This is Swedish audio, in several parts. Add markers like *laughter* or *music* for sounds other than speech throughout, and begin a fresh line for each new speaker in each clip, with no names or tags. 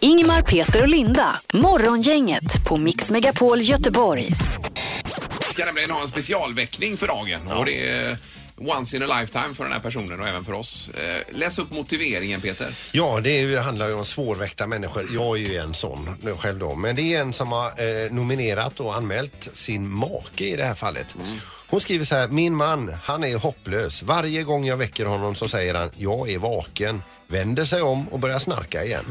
Ingemar, Peter och Linda. Morgongänget på Mix Megapol Göteborg.
Vi ska nämligen ha en specialväckning för dagen och det är eh, once in a lifetime för den här personen och även för oss. Eh, Läs upp motiveringen Peter.
Ja, det är ju, handlar ju om svårväckta människor. Jag är ju en sån nu själv då. Men det är en som har eh, nominerat och anmält sin make i det här fallet. Hon skriver så här, min man, han är hopplös. Varje gång jag väcker honom så säger han, jag är vaken. Vänder sig om och börjar snarka igen.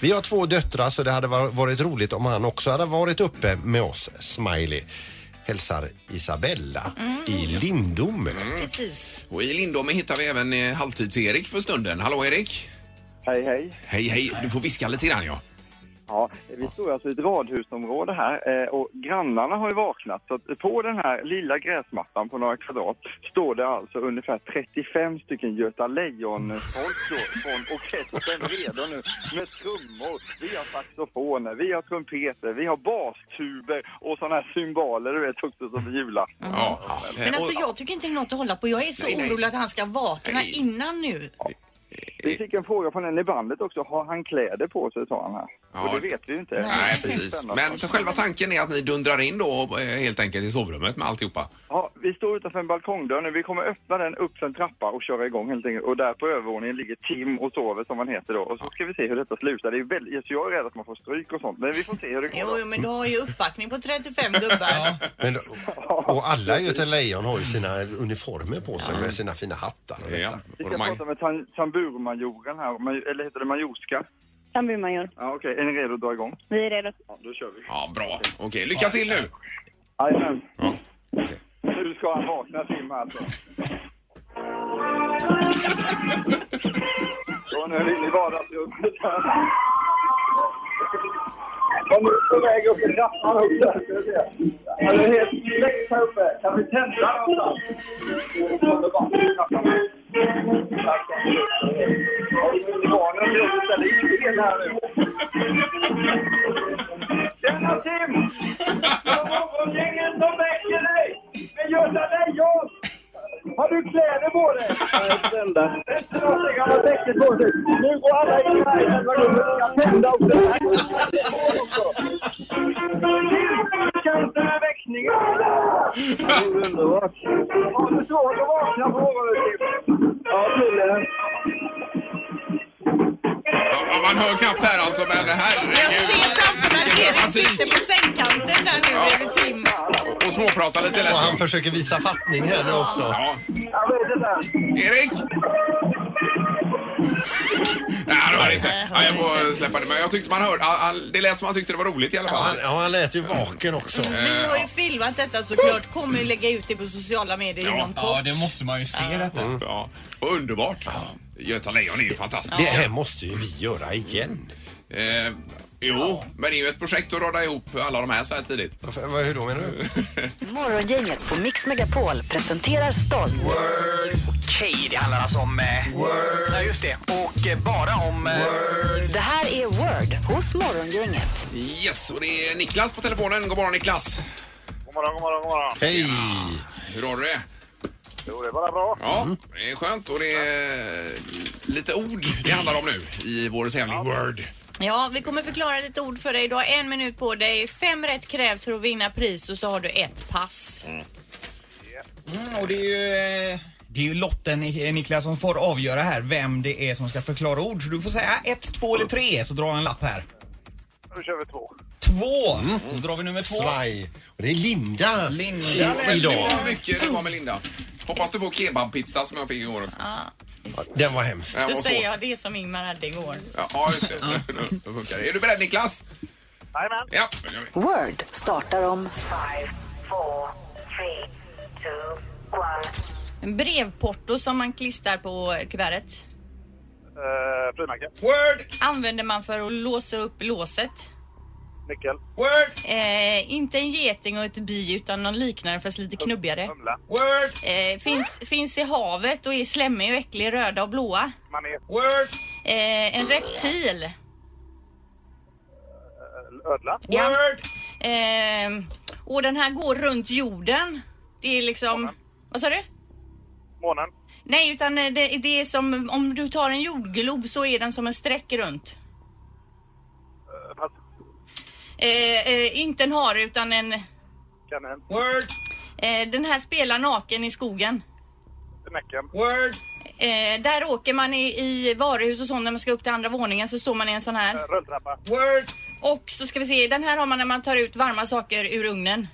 Vi har två döttrar så det hade va- varit roligt om han också hade varit uppe med oss, smiley. Hälsar Isabella i Lindome.
Precis.
Och i Lindome hittar vi även eh, Halvtids-Erik för stunden. Hallå Erik!
Hej, hej.
Hej hej, du får viska lite grann ja.
Ja, vi står alltså i ett radhusområde här eh, och grannarna har ju vaknat. Så att på den här lilla gräsmattan på några kvadrat står det alltså ungefär 35 stycken Göta Lejon-folk då från orkestern redo nu med trummor. Vi har saxofoner, vi har trumpeter, vi har bastuber och sådana här cymbaler du vet också som vi jular.
ja.
Men alltså
Eh, och-
jag tycker inte det är något att hålla på. Jag är så
Nej, nej.
orolig att han ska vakna
Nej.
innan nu.
Vi fick en fråga från en i bandet också. Har han kläder på sig sa han här.
Ja.
Och det vet vi ju inte.
Nej, precis.
Spännande.
Men för själva tanken är att ni dundrar in då eh, helt enkelt i sovrummet med alltihopa.
Ja, vi står utanför en balkongdörr nu. Vi kommer öppna den upp för en trappa och köra igång helt enkelt. Och där på övervåningen ligger Tim och sover som han heter då. Och så ska vi se hur detta slutar. Det är väldigt, så jag är rädd att man får stryk och sånt. Men vi får se hur det går.
Jo, jo, men du har ju uppbackning på 35 gubbar.
*laughs* Men, och alla Göta Lejon har ju sina uniformer på sig med sina fina hattar och detta.
Ja.
Vi
Och
ska
de-
prata med tan- tamburmajoren här. Ma- Eller heter det majorska?
Tamburmajor.
Ja, okej. Är ni redo att dra igång?
Vi är redo.
Ja, då kör vi.
Ja, bra. Okej, lycka till nu!
Jajamän.
Ja.
Nu ska han vakna Tim här alltså. Och nu är vi inne i vardagsrummet här. Kom nu på väg upp i trappan upp där. ska vi se. Han är helt släckt här uppe. Kan vi tända någonstans? Underbart. Trappan. Tack så mycket. Ja, det är Barnen gör det ställer in fel här nu. Tjena Tim! Morgongänget som väcker dig! Med Göta Lejon! Har du kläder på dig? Inte någonting, han har täcke på sig. Nu går alla in här. jävla gubbe. Jag ska tända upp det här. Kan inte den här väckningen? Underbart. Har du svårt att vakna på morgonen, Kim? Ja, tydligen.
Ja, man hör knappt här alltså, men
Jag
herregud.
ser framför mig att Erik
Alltså-
Dramatik.
sitter på sängkanten där nu bredvid Tim.
Och småprata lite lätt.
Och han försöker visa fattning här nu också.
Ja.
Jag vet inte.
Erik! Nej, det var det inte. Ja, jag får släppa det. Men jag tyckte man hörde, all, all, det lät som han tyckte det var roligt i alla
Ja,
fall.
han, ja, han lät ju vaken också.
Vi
Eh.
har ju filmat detta såklart. Kommer ju lägga ut det på sociala medier
Ja.
inom
Ja,
kort.
det måste man ju se detta.
Ja, och underbart. Göta Lejon är ju fantastiskt.
Det här måste ju vi göra igen.
Eh, jo, men det är ju ett projekt att rada ihop alla de här så här tidigt. *laughs*
Varför- Vad, hur då menar du?
Morgongänget på Mix Megapol presenterar stolt
Okej, det handlar alltså om... Eh, Word. Ja, just det. Och eh, bara om... Eh,
Det här är Word hos Morgongänget.
Yes, och det är Niklas på telefonen. God morgon Niklas!
God morgon, god morgon, god morgon.
Hej!
Hur har du det?
Jo, det är bara bra.
Ja, det är skönt och det är lite ord det handlar om nu i vår tävling Word.
Ja, vi kommer förklara lite ord för dig. Du har en minut på dig. Fem rätt krävs för att vinna pris och så har du ett pass.
Mm, och det är ju... eh, Det är ju lotten Ni- Niklas som får avgöra här vem det är som ska förklara ord. Så du får säga ett, två eller tre så drar jag en lapp här.
Nu kör vi två.
Två! Då drar vi nummer två.
Svaj. Och det är Linda.
Linda
Men det
Idag.
var mycket det var med Linda. Hoppas du får kebabpizza som jag fick igår också.
Den var hemsk.
Den
Då
var
säger
svår.
jag det som Ingmar hade igår.
Ja, just det. Då funkar det. Är du beredd Niklas?
Jajamän.
Ja, då kör vi.
Word startar om
En brevporto som man klistrar på kuvertet.
Eh, Frimärke.
Word!
Använder man för att låsa upp låset.
Nyckel.
Word!
Eh, inte en geting och ett bi utan någon liknande fast lite knubbigare.
Humla.
Word!
Eh, finns, finns i havet och är slemmig och äcklig, röda och blåa.
Manet.
Word!
Eh, en reptil.
Ödla.
Ja.
Word!
Eh, och den här går runt jorden. Det är liksom... Vad sa du?
Månen.
Nej, utan eh, det, det är som om du tar en jordglob så är den som en streck runt. Eh, eh, inte en hare utan en...
Kanin,
Word,
Eh, den här spelar naken i skogen.
Näcken,
word,
Eh, där åker man i, i varuhus och sånt när man ska upp till andra våningen så står man i en sån här.
rulltrappa,
word,
Och så ska vi se, den här har man när man tar ut varma saker ur ugnen.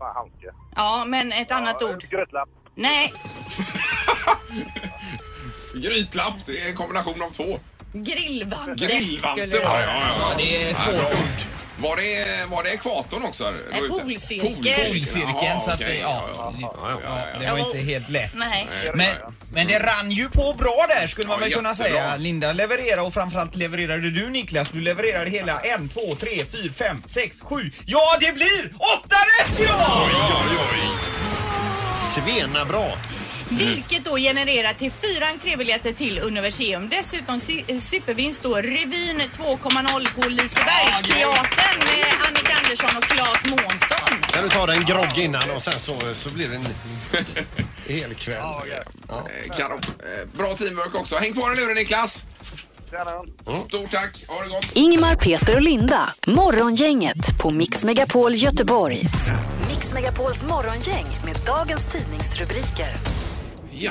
eh, handske.
Ja, men ett annat ord.
Grötlapp.
Nej,
Grytlapp, det är en kombination av två.
grillvante.
Grillvante
skulle det
var det,
vara.
ja, ja, ja.
det är
Ja,
svårt.
bra. Var det, var det ekvatorn också?
Nej,
Då ute?
polcirkeln.
Polcirkeln,
Jaha,
så att det,
okej,
ja,
Ja, ja.
ja, det var inte helt lätt.
Nej.
Men, men det rann ju på bra där skulle man
Ja,
väl kunna
jättebra.
säga. Linda levererade och framförallt levererade du Niklas. Du levererade hela 1, 2, 3, 4, 5, 6, 7. Ja det blir 8 rätt ja!
Oj, oj, oj.
Svena bra.
Vilket då genererar till fyra entrébiljetter till Universium. Dessutom si- eh, supervinst då Revyn 2.0 på Lisebergsteatern med Annika Andersson och Claes Månsson.
Kan du ta dig en grogg innan och sen så, så blir det *laughs* en hel kväll. Ja.
Eh, Kanon. Eh, Bra teamwork också. Häng kvar i luren Niklas.
Tjena.
Stort tack. Ha det gott.
Ingmar, Peter och Linda. Morgongänget på Mix Megapol Göteborg. Mix Megapols morgongäng med dagens tidningsrubriker.
Ja,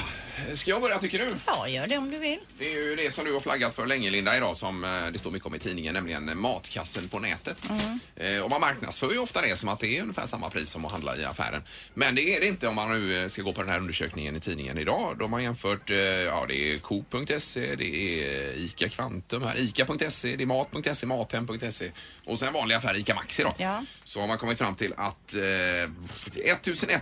ska jag börja tycker du?
Ja, gör det om du vill.
Det är ju det som du har flaggat för länge Linda idag som eh, det står mycket om i tidningen, nämligen matkassen på nätet.
Mm.
Eh, Och man marknadsför ju ofta det som att det är ungefär samma pris som att handla i affären. Men det är det inte om man nu eh, ska gå på den här undersökningen i tidningen idag. De har jämfört, eh, ja det är Coop.se, det är eh, ICA Kvantum här, ICA.se, det är Mat.se, Mathem.se och sen vanliga affärer ICA Maxi då.
Ja.
Så har man kommit fram till att eh,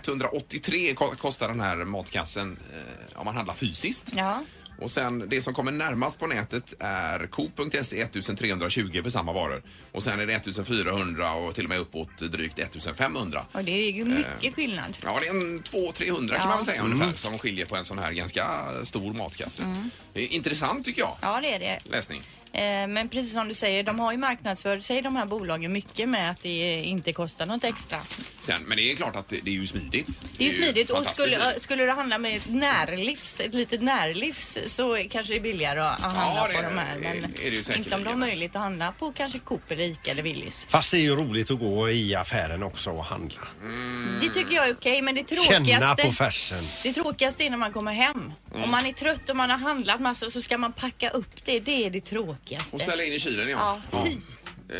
1183 ko- kostar den här matkassen eh, om man handlar fysiskt.
Ja.
Och sen det som kommer närmast på nätet är Coop.se 1320 för samma varor. Och sen är det 1400 och till och med uppåt drygt 1500.
Och det är ju mycket skillnad.
Ja, det är en 200-300 kan man väl
Ja. Mm.
säga ungefär som skiljer på en sån här ganska stor matkasse. Det är intressant tycker jag.
Ja, det är det.
Läsning.
Eh, Men precis som du säger, de har ju marknadsfört sig de här bolagen mycket med att det inte kostar något extra.
Sen, men det är klart att det, det är ju smidigt.
Det är ju smidigt och
fantastiskt
skulle,
smidigt.
skulle det handla med ett närlivs, ett litet närlivs så kanske det är billigare att handla
Ja, det
på de här.
är-
Men
är det ju säkerligen.
inte om de har möjlighet att handla på kanske Coop eller Ica eller Willys.
Fast det är ju roligt att gå i affären också och handla.
Mm.
Det tycker jag är okej men det
Känna på
tråkigaste,
färsen.
det tråkigaste är när man kommer hem.
Mm.
Om man är trött och man har handlat massa så ska man packa upp det. Det är det tråkigaste.
Och ställa in i kylen
Ja,
ja.
fy.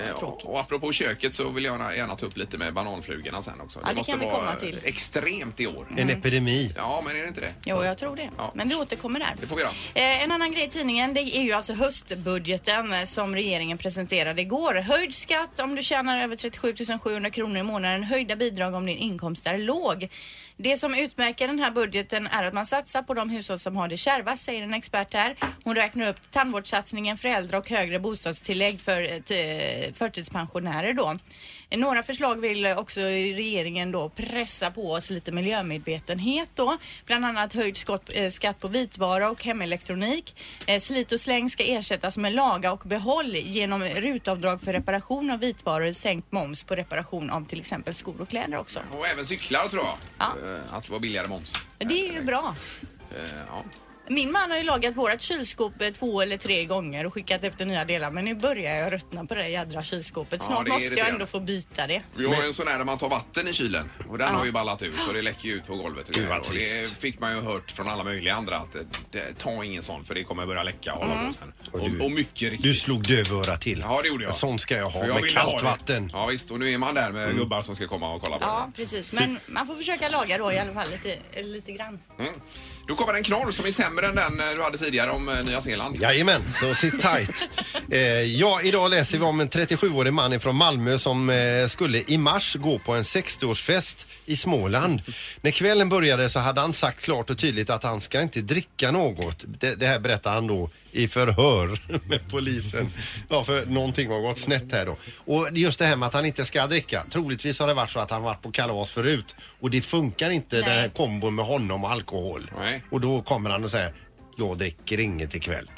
Eh, och, och apropå köket så vill jag gärna ta upp lite med bananflugorna sen också.
Ja, det kan vi komma till. Mm.
extremt i år.
En epidemi.
Ja, men är det inte det?
Jo, jag tror det.
Ja.
Men vi återkommer där.
Det får vi göra.
Eh, en annan grej i tidningen det är ju alltså höstbudgeten eh, som regeringen presenterade igår. Höjd skatt om du tjänar över 37 700 kronor i månaden. Höjda bidrag om din inkomst är låg. Det som utmärker den här budgeten är att man satsar på de hushåll som har det kärvast, säger en expert här. Hon räknar upp tandvårdssatsningen för äldre och högre bostadstillägg för eh, t- förtidspensionärer då. Eh, Några förslag vill också regeringen då pressa på oss lite miljömedvetenhet då. Bland annat höjd skott, eh, skatt på vitvara och hemelektronik. Eh, slit och släng ska ersättas med laga och behåll genom rutavdrag för reparation av vitvaror, sänkt moms på reparation av till exempel skor och kläder också.
Och även cyklar tror jag.
Ja.
Eh, Att det var billigare moms.
Men Det är ju bra.
Eh, Ja.
Min man har ju lagat vårt kylskåp eh, två eller tre gånger och skickat efter nya delar men nu börjar jag röttna på det jädra kylskåpet.
Ja,
Snart
det är
måste jag
irriterande.
ändå få byta det.
Vi har ju en sån här där man tar vatten i kylen och den har ju ballat ur så det läcker ju ut på golvet. och
Gud, vad
grejer. och det
trist.
fick man ju hört från alla möjliga andra att eh, det, ta ingen sån för det kommer börja läcka och hålla på sen. Mm. Och, och mycket riktigt.
Du slog dövörat till.
Ja, det gjorde jag.
Sånt ska jag ha
För
med
ville ha
kallt
det.
vatten.
Ja visst, och nu är man där med gubbar som ska komma och kolla på
Ja,
Typ.
precis. Men man får försöka laga då i alla fall lite, lite grann.
det. Mm. Då kommer en knorr som är sämre än den eh, du hade tidigare om eh, Nya Zeeland.
Jajamän, så sitt tight. Eh, ja, idag läser vi om en 37-årig man från Malmö som eh, skulle i mars gå på en 60-årsfest i Småland. När kvällen började så hade han sagt klart och tydligt att han ska inte dricka något. Det, det här berättar han då i förhör *laughs* med polisen. Ja, för någonting har gått snett här då. Och just det här med att han inte ska dricka. Troligtvis har det varit så att han varit på kalas förut och det funkar inte den här kombon med honom och alkohol.
Nej.
Och då kommer han och säger jag dricker inget ikväll.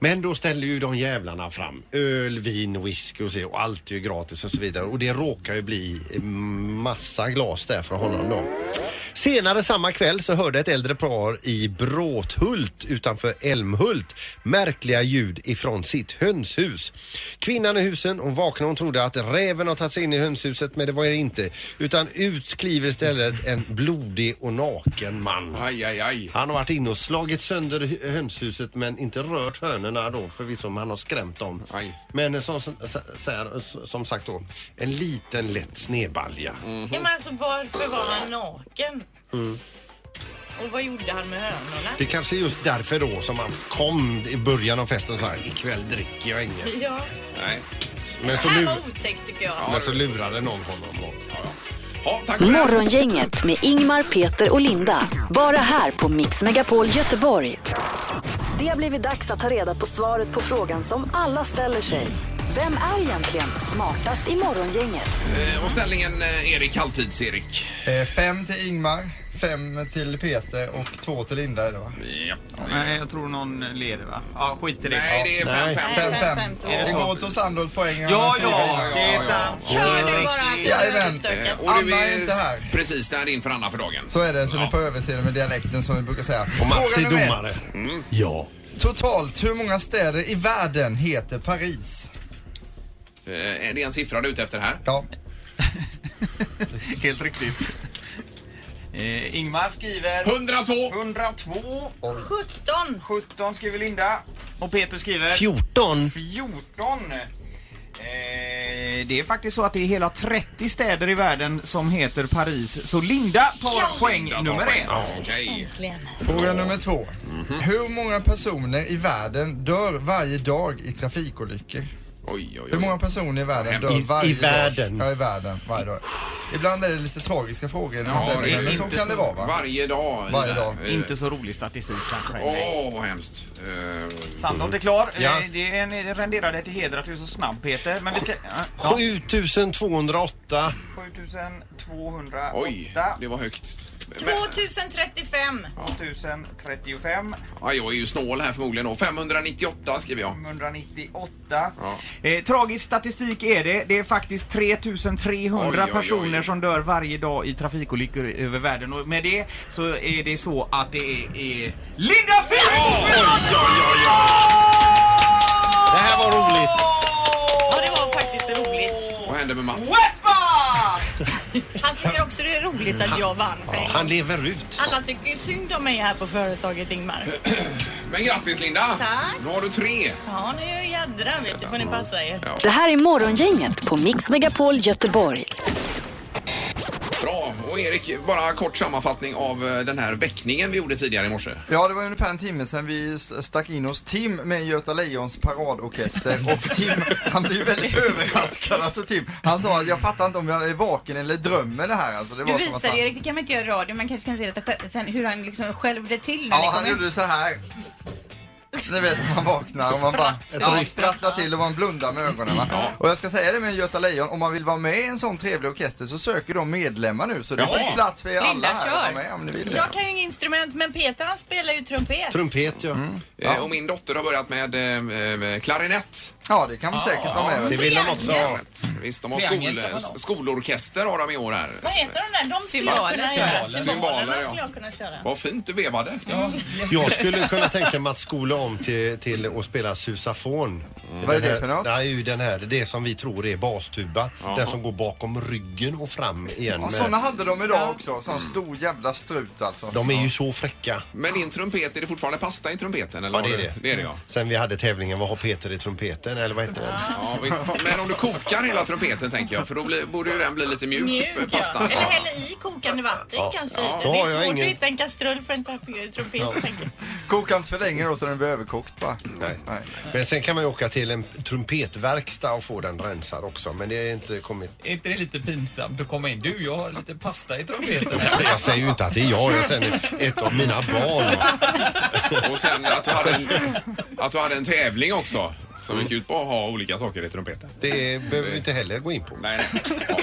Men då ställer ju de jävlarna fram öl, vin, whisky och, så, och allt är ju gratis och så vidare. Och det råkar ju bli mm, massa glas där från honom då. Senare samma kväll så hörde ett äldre par i Bråthult utanför Älmhult märkliga ljud ifrån sitt hönshus. Kvinnan i husen, hon vaknade och trodde att räven har tagit sig in i hönshuset men det var det inte. Utan ut kliver istället en blodig och naken man.
Aj, aj, aj.
Han har varit inne och slagit sönder hy- hönshuset men inte rört hönorna då förvisso, men han har skrämt dem.
Aj.
Men eh, som, så, så här, eh, som sagt då, en liten lätt snedbalja.
Ja, men alltså varför var han naken?
Mm.
Och vad gjorde han med hönorna?
Det kanske är just därför då som han kom i början av festen och sa ikväll dricker jag inget.
Ja,
Nej.
Men så,
det här
lur,
var otäckt tycker jag.
men så lurade någon honom. då.
Ja, ja. Ja, tack för det.
Morgongänget med Ingmar, Peter och Linda. Bara här på Mix Megapol Göteborg. Det har blivit dags att ta reda på svaret på frågan som alla ställer sig. Vem är egentligen smartast i Morgongänget?
Eh, Och ställningen eh, Erik, halvtids-Erik.
Eh, Fem till Ingmar, fem till Peter och två till Linda idag.
Ja.
Nej, jag tror någon leder va? Ja, skit i det.
Nej, det är
Nej.
5-5.
Fem, fem.
fem, två.
Är det så?
Igår tog Sandholt poäng.
Ja,
Han har
ja,
fyra.
det är sant.
Kör nu bara. Det
Jajamän.
är så stökigt.
Eh, Och du
Anna är inte här.
precis där in för Anna för dagen.
Så är det, så ni får överseende med dialekten som vi brukar säga.
Och Mats
Fråga
är
nummer
domare.
ett. Mm.
Ja.
Totalt, hur många städer i världen heter Paris?
Eh, Är det en siffra du är ute efter här?
Ja,
Helt riktigt. Eh, Ingmar skriver
102!
102.
17.
17 skriver Linda. Och Peter skriver
14.
14. Eh, det är faktiskt så att det är hela 30 städer i världen som heter Paris. Så Linda tar
Ja.
poäng
Jag tar
nummer
poäng.
ett.
Ja, Okej.
Äntligen.
fråga nummer två.
Mhm.
Hur många personer i världen dör varje dag i trafikolyckor?
Oj, oj,
Hur många
oj.
personer i världen
I-
dör
i
varje dag?
världen.
Ja, i världen. Varje dag. Ibland är det lite tragiska frågor,
Ja,
ja,
det är
men så
inte
kan
så-
det vara va?
Varje dag. i
Varje
det här.
dag.
Eh,
Inte så rolig statistik kanske.
Åh,
Oh.
vad hemskt. Eh,
Sandholt är klar. Eh,
Ja.
Det är en- det renderar dig till heder att du är så snabb Peter. Men vi ska... ja, Ja,
7208.
7208.
Oj, det var högt. Men,
2035.
2035.
ja, jag är ju snål här förmodligen då. 598 skriver jag.
598.
Ja.
Eh, tragisk statistik är det. Det är faktiskt 3300
Oj, oj, oj.
personer som dör varje dag i trafikolyckor över världen. Och med det så är det så att det är, är Linda
Det här var roligt.
Ja, det var faktiskt roligt.
Vad hände med Mats?
Fimpa!
Han tycker också det är roligt att jag vann. för en gång.
Han lever ut.
Alla tycker ju synd om mig här på företaget Ingmar.
Men grattis Linda!
Tack.
Nu har du tre.
Ja, nu är jag jädra vet du. får ni passa er.
Det här är Morgongänget på Mix Megapol Göteborg.
Bra. Och Erik, bara kort sammanfattning av eh, den här väckningen vi gjorde tidigare i morse. Eh,
Ja, det var ungefär en timme sedan vi s- stack in hos Tim med Göta Lejons paradorkester och Tim, han blev väldigt överraskad alltså Tim. Han sa att jag fattar inte om jag är vaken eller drömmer det här alltså. Det
Du
var som att
visar
han...
Erik, det kan man inte göra i radio. Man kanske kan se detta själv, sen, hur han liksom själv det till när
Ja,
det
han
kommer.
gjorde så här. Ni vet när man vaknar och man bara
Spratt,
ja,
spratt.
sprattlar till och man blundar med ögonen. Va? Och jag ska säga det med Göta Lejon, om man vill vara med i en sån trevlig orkester så söker de medlemmar nu så det
Jaha.
finns plats för er alla
Linda,
här
kör.
att vara med om ni vill det.
Jag kan ju inget instrument, men Peter han spelar ju trumpet.
Trumpet ja.
Mm.
Eh, Och min dotter har börjat med eh, eh, klarinett.
Ja, det kan vi säkert vara med.
Det
va?
vill de också ha.
Visst, de har
Triangel
skol,
kan man ha.
skolorkester har de i år här.
Vad heter de där? De skulle jag
Cymbaler.
kunna göra.
Cymbaler.
Cymbaler,
Cymbalerna
ja.
skulle jag kunna köra.
Vad fint du vevade.
Jag skulle kunna tänka mig att skola om till, till att spela susafon.
Vad är det för något?
Det är ju den här, det som vi tror är bastuba. Den som går bakom ryggen och fram igen.
Ja,
med-
såna hade de idag också. Sån stor
Mm.
jävla strut alltså.
De är ju så fräcka.
Men din trumpet, är det fortfarande pasta i trumpeten? Eller
Ja, det
har
är
du-
det.
Det är det ja.
Sen vi hade tävlingen, vad har Peter i trumpeten? Eller vad heter den?
Ja, visst. Men om du kokar hela trumpeten tänker jag, för då blir, borde ju den bli lite mjuk,
Mjuk, ja.
pastan.
Eller hälla i kokande vatten kanske.
Ja.
Det
Då har
är
jag
svårt
ingen-
att hitta en kastrull för en trapp- trumpet. tänker jag.
Koka inte för länge då så den blir överkokt bara.
Nej. Men sen kan man ju åka till en trumpetverkstad och få den rensad också. Men det är inte kommit.
Är inte det lite pinsamt att komma in? Du, jag har lite pasta i trumpeten. här.
Jag säger ju inte att det är jag, jag säger ett av mina barn.
Och sen att du hade en, att du hade en tävling också. Som gick ut på att ha olika saker i trumpeten.
Det behöver vi inte heller gå in på.
Nej, nej. Ja.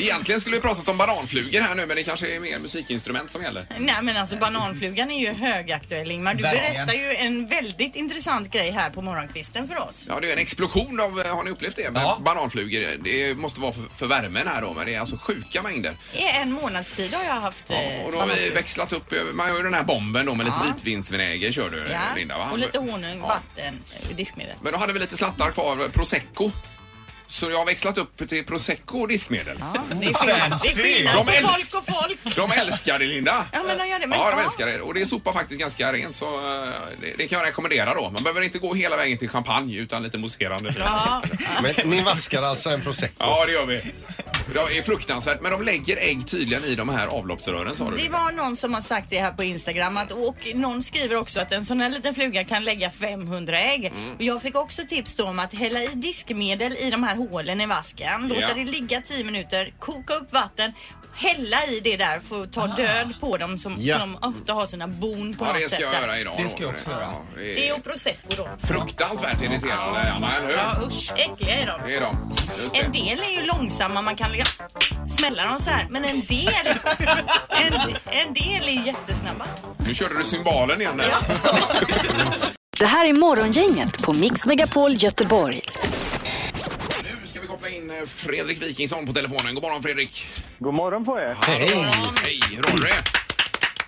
Egentligen skulle vi pratat om bananflugor här nu men det kanske är mer musikinstrument som gäller.
Nej men alltså bananflugan är ju högaktuell Ingmar. Du
Verkligen.
berättar ju en väldigt intressant grej här på morgonkvisten för oss.
Ja, det är en explosion av, eh, har ni upplevt det? Med
Ja.
Bananflugor. Det måste vara för, för värmen här då men det är alltså sjuka mängder.
I en månads tid har jag haft
Ja,
eh,
och då har vi
bananflugor.
växlat upp, över- man gör den här bomben då med lite
Ja.
vitvinsvinäger kör du eh, Linda va?
Ja, och lite honung,
Ja.
vatten, eh, diskmedel.
Men då hade vi lite slattar kvar, prosecco. Så jag har växlat upp till prosecco och diskmedel.
Det är skillnad, det är skillnad
De
på
älsk-
folk och folk.
De älskar det Linda!
Ja, men de gör det, men
ja, de
ja.
älskar det. Och det sopar faktiskt ganska rent så eh, det, det kan jag rekommendera då. Man behöver inte gå hela vägen till champagne utan lite mousserande vin.
Ja,
Men ni vaskar alltså en prosecco?
Ja, det gör vi. Det är fruktansvärt. Men de lägger ägg tydligen i de här avloppsrören sa du.
det var någon som har sagt det här på Instagram att, och någon skriver också att en sån här liten fluga kan lägga 500 ägg.
Mm.
Och jag fick också tips då om att hälla i diskmedel i de här hålen i vasken, låta
Ja.
det ligga 10 minuter, koka upp vatten hälla i det där för att ta död på dem som,
Ja.
som ofta har sina bon på
Ja,
något
det ska
sätt.
jag
där.
göra idag.
Det
då.
ska jag också göra.
Ja, det
Det är
är
och prosecco då.
fruktansvärt irriterande. Anna, eller hur?
Ja usch, äckliga är de.
Det är de. Just
En
det.
del är ju långsamma, man kan liksom smälla dem så här. Men en del,
*laughs*
en, en del är ju jättesnabba.
Nu körde du cymbalen igen där.
Det här är Morgongänget på Mix Megapol Göteborg.
Nu ska vi koppla in eh, Fredrik Wikingsson på telefonen. God morgon Fredrik!
God morgon på er!
Hej!
Hej! Hur har du det?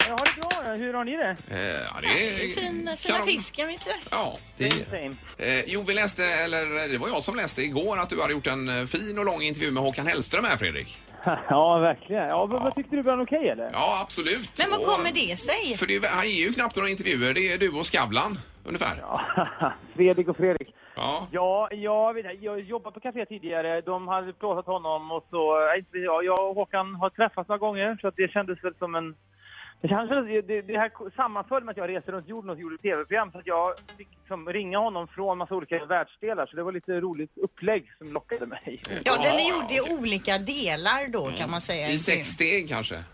Jag har det bra, hur har ni det?
Eh, Ja, det är...
Fin, fina
kanon.
fisken vet du.
Ja.
Det är insane.
Eh, jo, vi läste, eller eh, det var jag som läste igår att du hade gjort en eh, fin och lång intervju med Håkan Hellström här Fredrik.
*laughs* Ja, verkligen. Ja, men Vad tyckte du? Var han okej eller?
Ja, absolut.
Men vad
Och-
kommer det sig?
För det, är- han ger ju knappt några intervjuer. Det är du och Skavlan ungefär. Ja.
*laughs* Fredrik och Fredrik.
ja.
Ja, jag, vet, jag jobbade på café tidigare. De hade plåtat honom och så... eh, inte- ja, Jag och Håkan har träffats några gånger så att det kändes väl som en... Det, kändes, det, det här sammanföll med att jag reste runt jorden och gjorde tv-program så att jag fick liksom ringa honom från massa olika världsdelar så det var lite roligt upplägg som lockade mig.
Ja,
Ja,
den
ja,
är gjord i olika delar då kan man säga.
I Mm. sex steg kanske.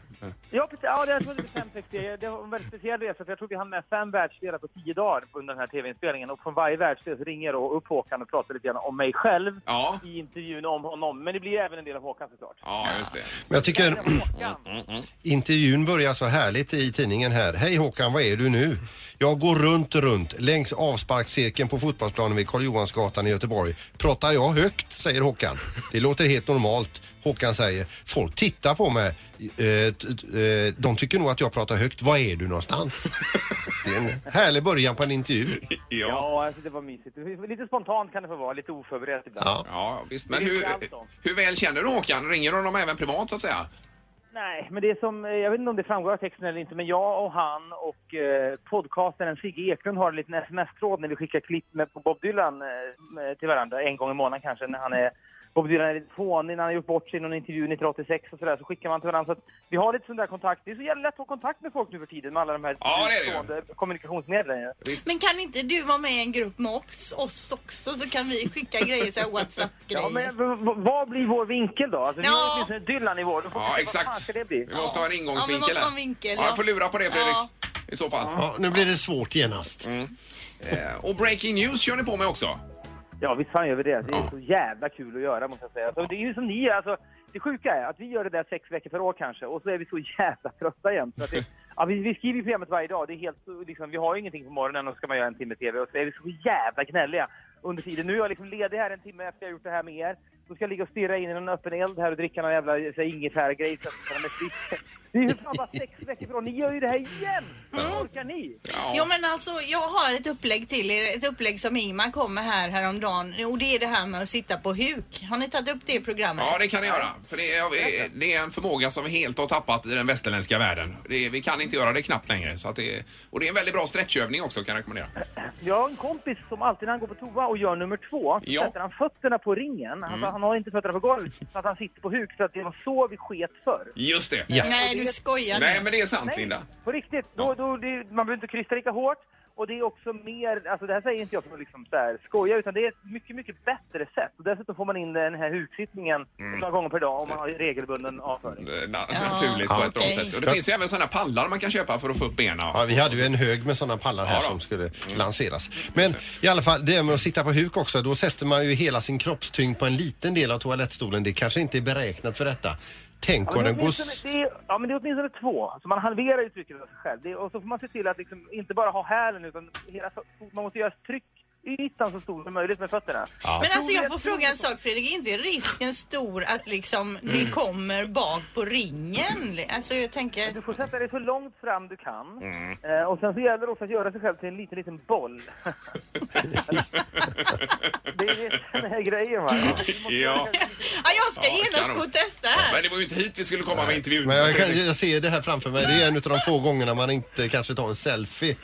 Ja, precis. Ja, det, jag tror det var fem, sex serier. Det var en väldigt speciell resa, för jag tror vi hann med fem världsdelar på tio dagar under den här tv-inspelningen. Och från varje världsdel så ringer jag då upp Håkan och pratar lite grann om mig själv
Ja.
i intervjun om honom. Men det blir även en del av Håkan såklart.
Ja, just det.
Men jag tycker
Håkan!
intervjun börjar så härligt i tidningen här. Hej Håkan, vad är du nu? Jag går runt, runt längs avsparkscirkeln på fotbollsplanen vid Karl Johansgatan i Göteborg. Pratar jag högt, säger Håkan. Det låter helt normalt. Håkan säger, folk tittar på mig. Eh, t- t- eh, De tycker nog att jag pratar högt. Var är du någonstans? Det är en härlig början på en intervju.
Ja.
Ja, alltså det var mysigt. Lite spontant kan det få vara, lite oförberett ibland.
Ja.
Ja, visst. Men
Det är
hur,
inte allt då.
hur väl känner du Håkan? Ringer du honom även privat så att säga?
Nej, men det är som, eh, jag vet inte om det framgår av texten eller inte, men jag och han och eh, podcastaren Sigge Eklund har en liten sms-tråd när vi skickar klipp med på Bob Dylan eh, med- till varandra en gång i månaden kanske när han är Bob Dylan är lite fånig när han har gjort bort sig i någon intervju 1986 och sådär så skickar man till varandra. Så att vi har lite sån där kontakt. Det är så jävla lätt att ha kontakt med folk nu för tiden med alla de här
Ja, det är det ju.
utstående kommunikationsmedlen. ju.
Men kan inte du vara med i en grupp med oss, oss också så kan vi skicka grejer, så här
Ja, men
Whatsapp-grejer.
v- v- vad blir vår vinkel då? Alltså, Vi har
Ja.
åtminstone Dylan i vår. Då får vi se
Ja,
Vad fan
exakt.
ska det bli?
Vi måste ha en
Ja, vi
ingångsvinkel
måste ha en
här.
vinkel.
Ja, jag får lura på det Fredrik.
Ja.
I så fall.
Ja, nu blir det svårt genast.
Eh, Och breaking news kör ni på med också.
Ja, visst fan gör vi det. Det är
Ja.
så jävla kul att göra, måste jag säga. Så det är ju som ni är. Alltså, det sjuka är att vi gör det där sex veckor per år kanske och så är vi så jävla trötta igen. Så att det, ja, vi, vi skriver ju programmet varje dag. Det är helt, liksom, vi har ju ingenting på morgonen och så ska man göra en timme TV och så är vi så jävla gnälliga under tiden. Nu är jag liksom ledig här en timme efter jag gjort det här med er. Då ska jag ligga och stirra in i någon öppen eld här och dricka någon jävla så här ingefärgrej så att jag kan mig frisk. Det är ju fan bara sex veckor per år. Ni gör ju det här igen! Hur orkar ni?
Jo men alltså jag har ett upplägg till er, ett upplägg som Ingmar kom med här häromdagen och det är det här med att sitta på huk. Har ni tagit upp det i programmet?
Ja, det kan ni göra. För det är, det är en förmåga som vi helt har tappat i den västerländska världen. Det är, vi kan inte göra det knappt längre. Så att det är, och det är en väldigt bra stretchövning också kan jag rekommendera.
Jag har en kompis som alltid när han går på toa och gör nummer två,
Ja. Mm.
sätter han fötterna på ringen. Alltså, Han har inte fötterna på golvet, så att han sitter på huk. Så att det var så vi sket förr.
Just det.
Nej du skojar nu.
Nej, men det är sant Linda.
På riktigt. Då, då, det, man behöver inte krysta lika hårt.
Och det är också mer, alltså det här säger inte jag för att liksom så här skoja, utan det är ett mycket, mycket bättre sätt. Och dessutom får man in den här huksittningen
Mm.
några gånger per dag om man har regelbunden avföring.
Na- naturligt på ett bra
okej.
sätt. Och det finns ju även sådana pallar man kan köpa för att få upp benen.
Ja, vi hade ju en hög med sådana pallar här
Ja, då.
som skulle lanseras. Men i alla fall, det här med att sitta på huk också, då sätter man ju hela sin kroppstyngd på en liten del av toalettstolen. Det kanske inte är beräknat för detta. Tänk om
men
den
det
går...
är
s-
åtminstone- det är, ja, men det är åtminstone två. Så man halverar ju trycket av sig själv. Det är, och så får man se till att liksom, inte bara ha hälen, utan hela, man måste göra tryckytan så stor som möjligt med fötterna.
Men alltså jag får fråga en sak Fredrik, är inte risken stor att liksom det kommer bak på ringen? Alltså jag tänker...
Du får sätta dig så långt fram du kan. Eh, och sen så gäller det också att göra sig själv till en liten, liten boll. *laughs*
*laughs*
det är det som är grejen va.
Ja.
Ja, jag ska genast gå och testa här.
Men det var ju inte hit vi skulle komma med intervjun.
Men jag, kan,
Fredrik.
jag ser det här framför mig. Det är en av de få gångerna man inte kanske tar en selfie.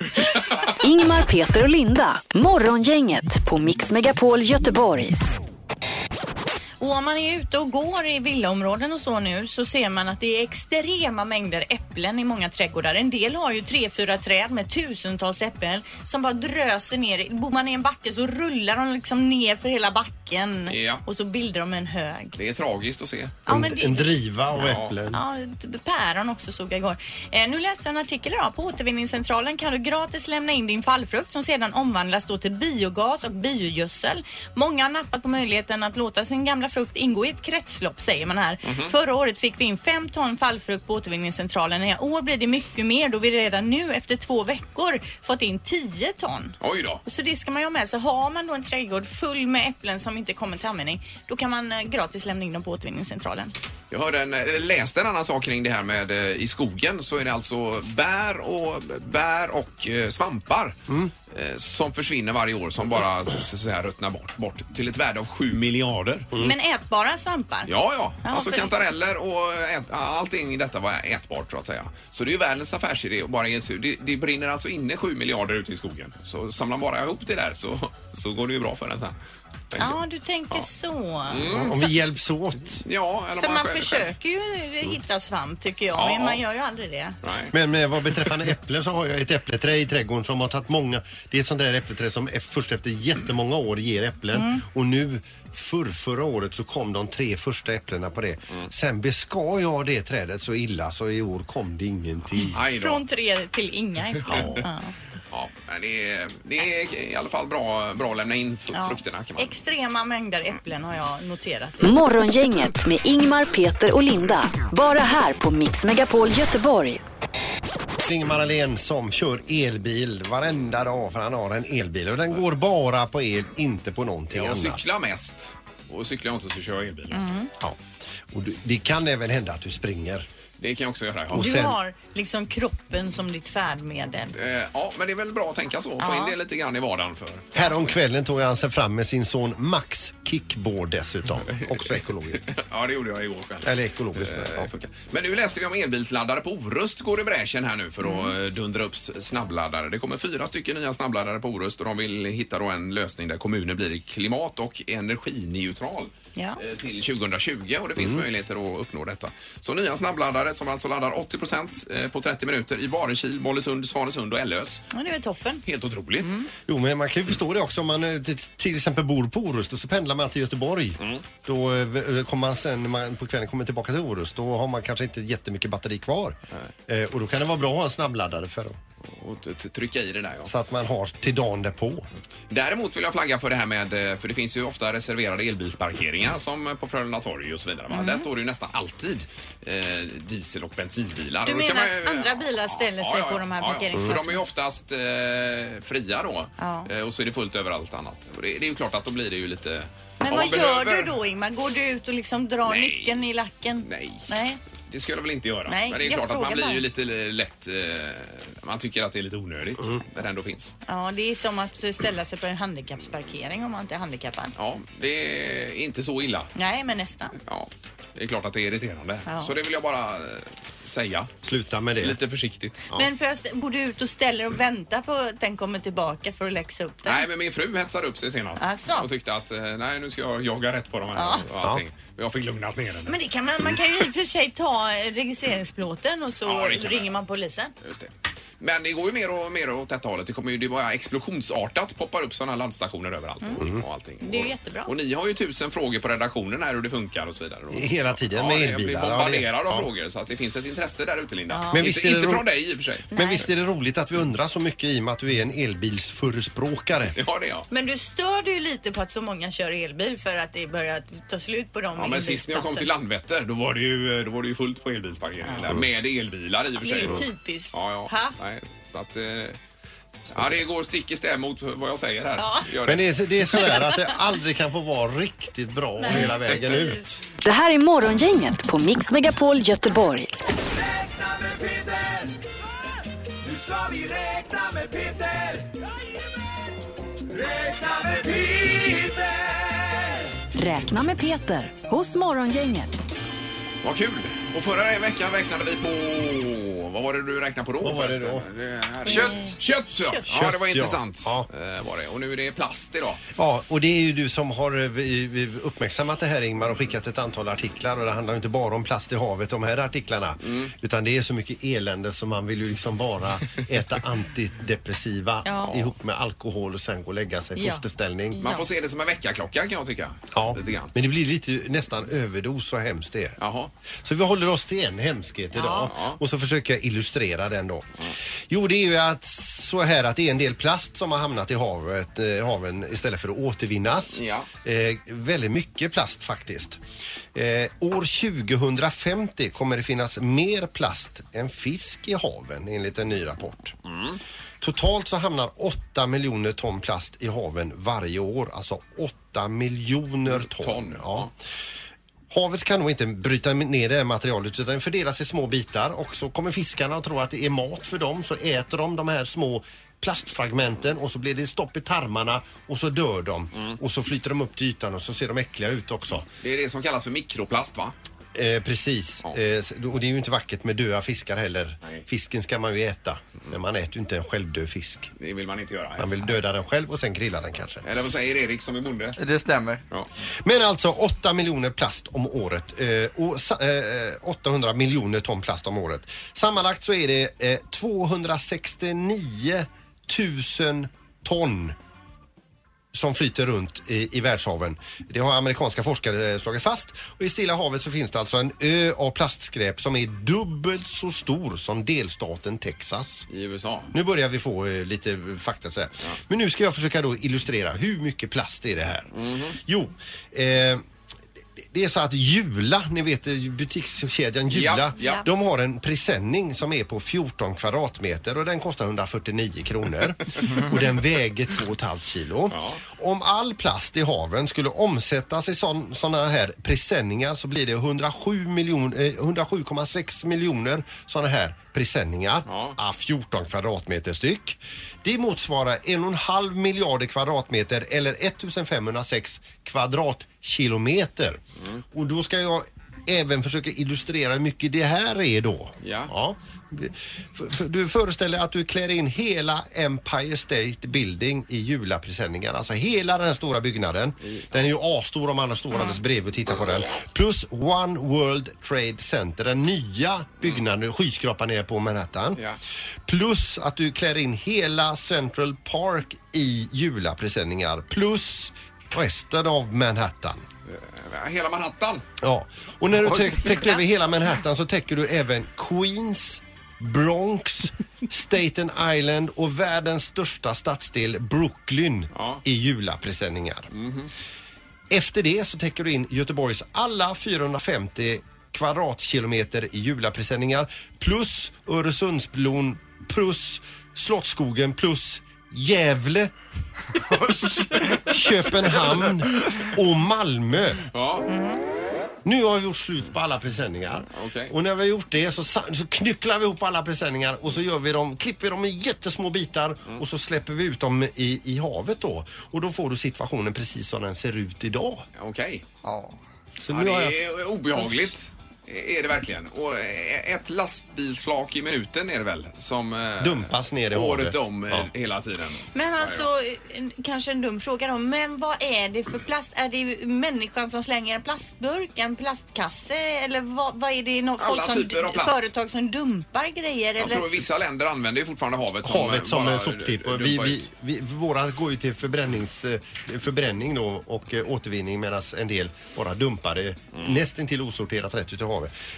Ingmar, Peter och Linda. Morgongänget på Mix Megapol Göteborg.
Och om man är ute och går i villaområden och så nu så ser man att det är extrema mängder äpplen i många trädgårdar. En del har ju tre, fyra träd med tusentals äpplen som bara dröser ner. Bor man i en backe så rullar de liksom ner för hela backen
Ja.
och så bildar de en hög.
Det är tragiskt att se.
Ja, men det- En driva
och äpplen.
Ja, päron också såg jag igår. Eh, nu läste jag en artikel idag. På återvinningscentralen kan du gratis lämna in din fallfrukt som sedan omvandlas då till biogas och biogödsel. Många har nappat på möjligheten att låta sin gamla frukt ingå i ett kretslopp säger man här.
Mhm.
Förra året fick vi in fem ton fallfrukt på återvinningscentralen. I år blir det mycket mer då vi redan nu efter två veckor fått in 10 ton.
Oj då.
Så det ska man ju ha med sig. Har man då en trädgård full med äpplen som inte kommer till användning, då kan man eh, gratis lämna in dem på återvinningscentralen.
Jag hörde en, eller läste en annan sak kring det här med eh, i skogen så är det alltså bär och, bär och eh, svampar
Mm.
eh, som försvinner varje år som bara så, så här, ruttnar bort, bort till ett värde av 7 miljarder.
Men ätbara svampar?
Mm. Ja, ja.
Ja,
alltså
för-
kantareller och ät, allting i detta var ätbart så att säga. Så det är ju världens affärsidé att bara ge sig ur. det, det brinner alltså inne 7 miljarder ute i skogen. Så samlar man bara ihop det där så, så går det ju bra för den sen. tänker
Ja, du tänker så.
Mm.
Om vi hjälps åt.
Ja, eller
För
man
man
själv- Mm.
försöker ju hitta svamp tycker jag,
Ja.
men man gör ju aldrig det.
Men med vad beträffande äpplen så har jag ett äppleträd i trädgården som har tagit många. Det är ett sånt där äppleträd som e- först efter jättemånga år ger äpplen.
Mm.
Och nu för förra året så kom de tre första äpplena på det. Sen beskar jag det trädet så illa så i år kom det
Mm.
ingenting.
Från tre till inga äpplen. Ja.
Ja, men det är, det är i alla fall bra, bra att lämna in fru-
Ja.
frukterna kan man
Extrema mängder äpplen har jag noterat.
Morgongänget med Ingmar, Peter och Linda. Bara här på Mix Megapol Göteborg.
Ingemar Ahlén som kör elbil varenda dag för han har en elbil. Och den går bara på el, inte på någonting
Jag
annat.
cyklar mest. Och cyklar jag inte så kör jag elbil.
Mm.
Ja. Och du, det kan även hända att du springer.
Det kan jag också göra. Ja.
Du har liksom kroppen som ditt färdmedel.
Eh, ja, men det är väl bra att tänka så. Få
Ja.
in det lite grann i vardagen för. *laughs*
Härom kvällen tog han sig fram med sin son Max kickboard dessutom. Också ekologiskt.
Ja, det gjorde jag igår själv.
Eller ekologiskt. men, ja.
Men nu läser vi om elbilsladdare på Orust går i bräschen här nu för att eh, dundra upp s- snabbladdare. Det kommer fyra stycken nya snabbladdare på Orust och de vill hitta då en lösning där kommunen blir klimat och energineutral.
Ja.
eh, till 2020 och det finns möjligheter att uppnå detta. Så nya snabbladdare som alltså laddar 80 eh, på 30 minuter i Varekil, Mollösund, Svanesund och Ellös.
Ja, det är toppen.
Helt otroligt.
Jo, men man kan ju förstå det också om man eh, till, till exempel bor på Orust och så pendlar man till Göteborg. Då eh, kommer man sen när man på kvällen kommer tillbaka till Orust. Då har man kanske inte jättemycket batteri kvar. Eh, och då kan det vara bra att ha en snabbladdare för dem.
Och t- t- trycka i det där ja.
Så att man har till dagen därpå.
Däremot vill jag flagga för det här med, eh, för det finns ju ofta reserverade elbilsparkeringar som eh, på Frölunda torg och så vidare. va?
Mm.
Där står det ju nästan alltid eh, diesel och bensinbilar.
Du
Och då kan
menar
man ju-
att andra bilar ställer sig på de här
Ja, ja, för de är ju
parkeringsplatserna?
oftast eh, fria då
Ja.
eh, och så är det fullt överallt annat. Och det, det är ju klart att då blir det ju lite...
Men
om
vad
man
gör
behöver-
du då Ingmar? Går du ut och liksom drar
Nej.
nyckeln i lacken?
Nej.
Nej.
Det skulle jag väl inte göra.
Nej,
Men det är
jag
klart att man
frågar
blir
bara.
ju
Mm.
lite eh, lätt... Eh, man tycker att det är lite onödigt när det ändå finns.
Ja, det är som att ställa sig på en handikappsparkering om man inte är handikappad.
Ja, det är inte så illa.
Nej, men nästan.
Ja, det är klart att det är irriterande.
Ja.
Så det vill jag bara eh, säga.
Sluta med det.
Lite försiktigt.
Men först går du ut och ställer och väntar på att den kommer tillbaka för att läxa upp den?
Nej, men min fru hetsade upp sig senast
Alltså.
och tyckte att eh, nej, nu ska jag jaga rätt på de här
Ja.
och allting. Jag fick lugnat ner henne.
Men det kan man, man kan ju i och för sig ta eh, registreringsplåten och så
Ja, det kan man.
ringer man polisen.
Just det. Men det går ju mer och mer åt detta hållet. Det kommer ju det är bara explosionsartat poppar upp sådana landstationer överallt och, och allting.
Mm. Det är ju jättebra.
Och ni har ju tusen frågor på redaktionen här hur det funkar och så vidare.
Hela tiden
ja,
med
det-
elbilar.
Vi bombarderar
Ja, det-
av
ja.
frågor så att det finns ett intresse där ute Linda.
Men
inte
visst är det
inte
ro-
från dig i och för sig.
Men visst är det roligt att vi undrar så mycket i och med att du är en elbilsförespråkare?
Ja, det är jag.
Men du stör dig ju lite på att så många kör elbil för att det börjar ta slut på dem
Ja, men sist när jag kom till Landvetter då var det ju, då var det ju fullt på elbilsparkeringen där med elbilar i och för
Det är
sig.
ju
då.
typiskt.
Ja, ja.
Ha?
Nej, så att... Eh, ja, det går stick i stäv mot vad jag säger här.
Ja.
Gör
Men det är, det är sådär att det aldrig kan få vara riktigt bra hela vägen ut.
Det här är Morgongänget på Mix Megapol Göteborg.
Nu ska vi räkna med Peter! Räkna med Peter!
Räkna med Peter hos Morgongänget.
Vad kul! Och förra veckan räknade vi på... Vad var det du räknade på då? Vad var det då? Kött! Kött, ja.
Kött.
ja! det var
Kött, ja.
intressant. Eh, Var det. Och nu är det plast idag.
Ja, och det är ju du som har eh, vi- vi uppmärksammat det här Ingmar och skickat ett antal artiklar och det handlar ju inte bara om plast i havet de här artiklarna.
Mm.
Utan det är så mycket elände som man vill ju liksom bara äta antidepressiva
Ja.
ihop med alkohol och sen gå och lägga sig i
Ja. Mm.
fosterställning.
Man får se det som en veckaklocka kan jag tycka.
Ja,
Lite grann.
men det blir lite nästan överdos så hemskt det är. Så vi håller oss till en hemskhet idag och så försöker jag illustrera den då. Jo, det är ju att så här att det är en del plast som har hamnat i havet, eh, haven istället för att återvinnas. Eh, väldigt mycket plast faktiskt. Eh, år 2050 kommer det finnas mer plast än fisk i haven enligt en ny rapport. Totalt så hamnar 8 miljoner ton plast i haven varje år. Alltså 8 miljoner ton. Ja. Havet kan nog inte bryta ner det här materialet utan det fördelas i små bitar och så kommer fiskarna att tro att det är mat för dem så äter de de här små plastfragmenten och så blir det stopp i tarmarna och så dör de. Och så flyter de upp till ytan och så ser de äckliga ut också.
Det är det som kallas för mikroplast va?
Eh, precis. Eh, s- och det är ju inte vackert med döda fiskar heller. Fisken ska man ju äta. Men man äter ju inte en självdöd fisk.
Det vill man inte göra.
Man vill döda den själv och sen grilla den kanske.
Eller vad säger Erik som är bonde?
Det stämmer.
Men alltså 8 miljoner plast om året eh, och sa- eh, eh, 800 miljoner ton plast om året. Sammanlagt så är det eh, 269 000 ton som flyter runt i, i världshaven. Det har amerikanska forskare eh, slagit fast. Och I Stilla havet så finns det alltså en ö av plastskräp som är dubbelt så stor som delstaten Texas.
I USA.
Nu börjar vi få eh, lite eh, fakta så här. Men nu ska jag försöka då illustrera hur mycket plast är det här.
Mhm.
Jo, eh, det är så att Jula, ni vet eh, butikskedjan Jula,
Ja, ja.
de har en presenning som är på 14 kvadratmeter och den kostar 149
*laughs*
kronor. och den väger 2,5 kilo. Om all plast i haven skulle omsättas i sådana här presenningar så blir det 107 miljon, eh, 107,6 miljoner sådana här presenningar. Ah, 14 kvadratmeter styck. Det motsvarar 1,5 miljarder kvadratmeter eller 1506 kvadratkilometer. Och då ska jag även försöka illustrera hur mycket det här är då.
Ja.
För- för- Du föreställer att du klär in hela Empire State Building i julapresenningar. Alltså hela den här stora byggnaden. Den är ju asstor om alla står alldeles bredvid och tittar på den. Plus One World Trade Center, den nya byggnaden, skyskrapan nere på Manhattan. Plus att du klär in hela Central Park i julapresenningar. Plus resten av Manhattan.
Eh, Hela Manhattan.
Ja, och när du täck- täckte över hela Manhattan så täcker du även Queens, Bronx, Staten Island och världens största stadsdel Brooklyn i julapresenningar. Efter det så täcker du in Göteborgs alla 450 kvadratkilometer i julapresenningar plus Öresundsbron plus Slottsskogen plus Gävle, Köpenhamn och Malmö. Nu har vi gjort slut på alla presenningar. Och när vi har gjort det så, sa- så knycklar vi ihop alla presenningar och så gör vi dem, klipper vi dem i jättesmå bitar och så släpper vi ut dem i, i havet då. Och då får du situationen precis som den ser ut idag.
Okej.
Ja.
Så
Ja,
nu har jag-
det är obehagligt. Är det verkligen. Och eh, ett lastbilsflak i minuten är det väl som... eh,
Dumpas ner i
Året
havet.
om eh, hela tiden.
Men alltså, en- kanske en dum fråga då. Men vad är det för plast? Är det människan som slänger en plastburk, en plastkasse eller vad, vad är det? Någon,
Alla
folk som,
typer av plast.
Företag som dumpar grejer?
Jag
eller?
tror vissa länder använder ju fortfarande havet som, eh,
Havet som
bara
en soptipp. Och Vi,
dumpar
vi,
ut.
vi, våra går ju till förbrännings, eh, förbränning då och eh, återvinning medan en del bara dumpar det
Mm.
nästintill osorterat rätt ut i havet.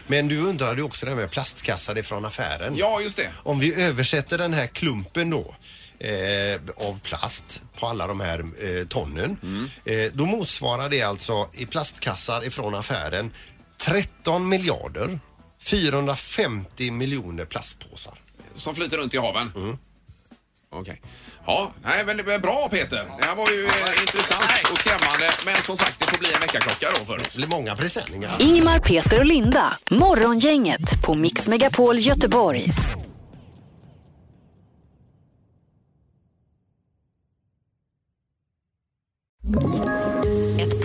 Men du undrade ju också det här med plastkassar ifrån affären.
Ja, just det.
Om vi översätter den här klumpen då eh, av plast på alla de här eh, tonnen.
Mm.
Eh, då motsvarar det alltså i plastkassar ifrån affären 13 miljarder 450 miljoner plastpåsar.
Som flyter runt i haven?
Mm.
Okej. Ja, nej men det är bra Peter. Det här var ju eh, intressant och skrämmande. Men som sagt, det får bli en väckarklocka då för oss. Det
blir många presenningar.
Ingemar, Peter och Linda. Morgongänget på Mix Megapol Göteborg. Ett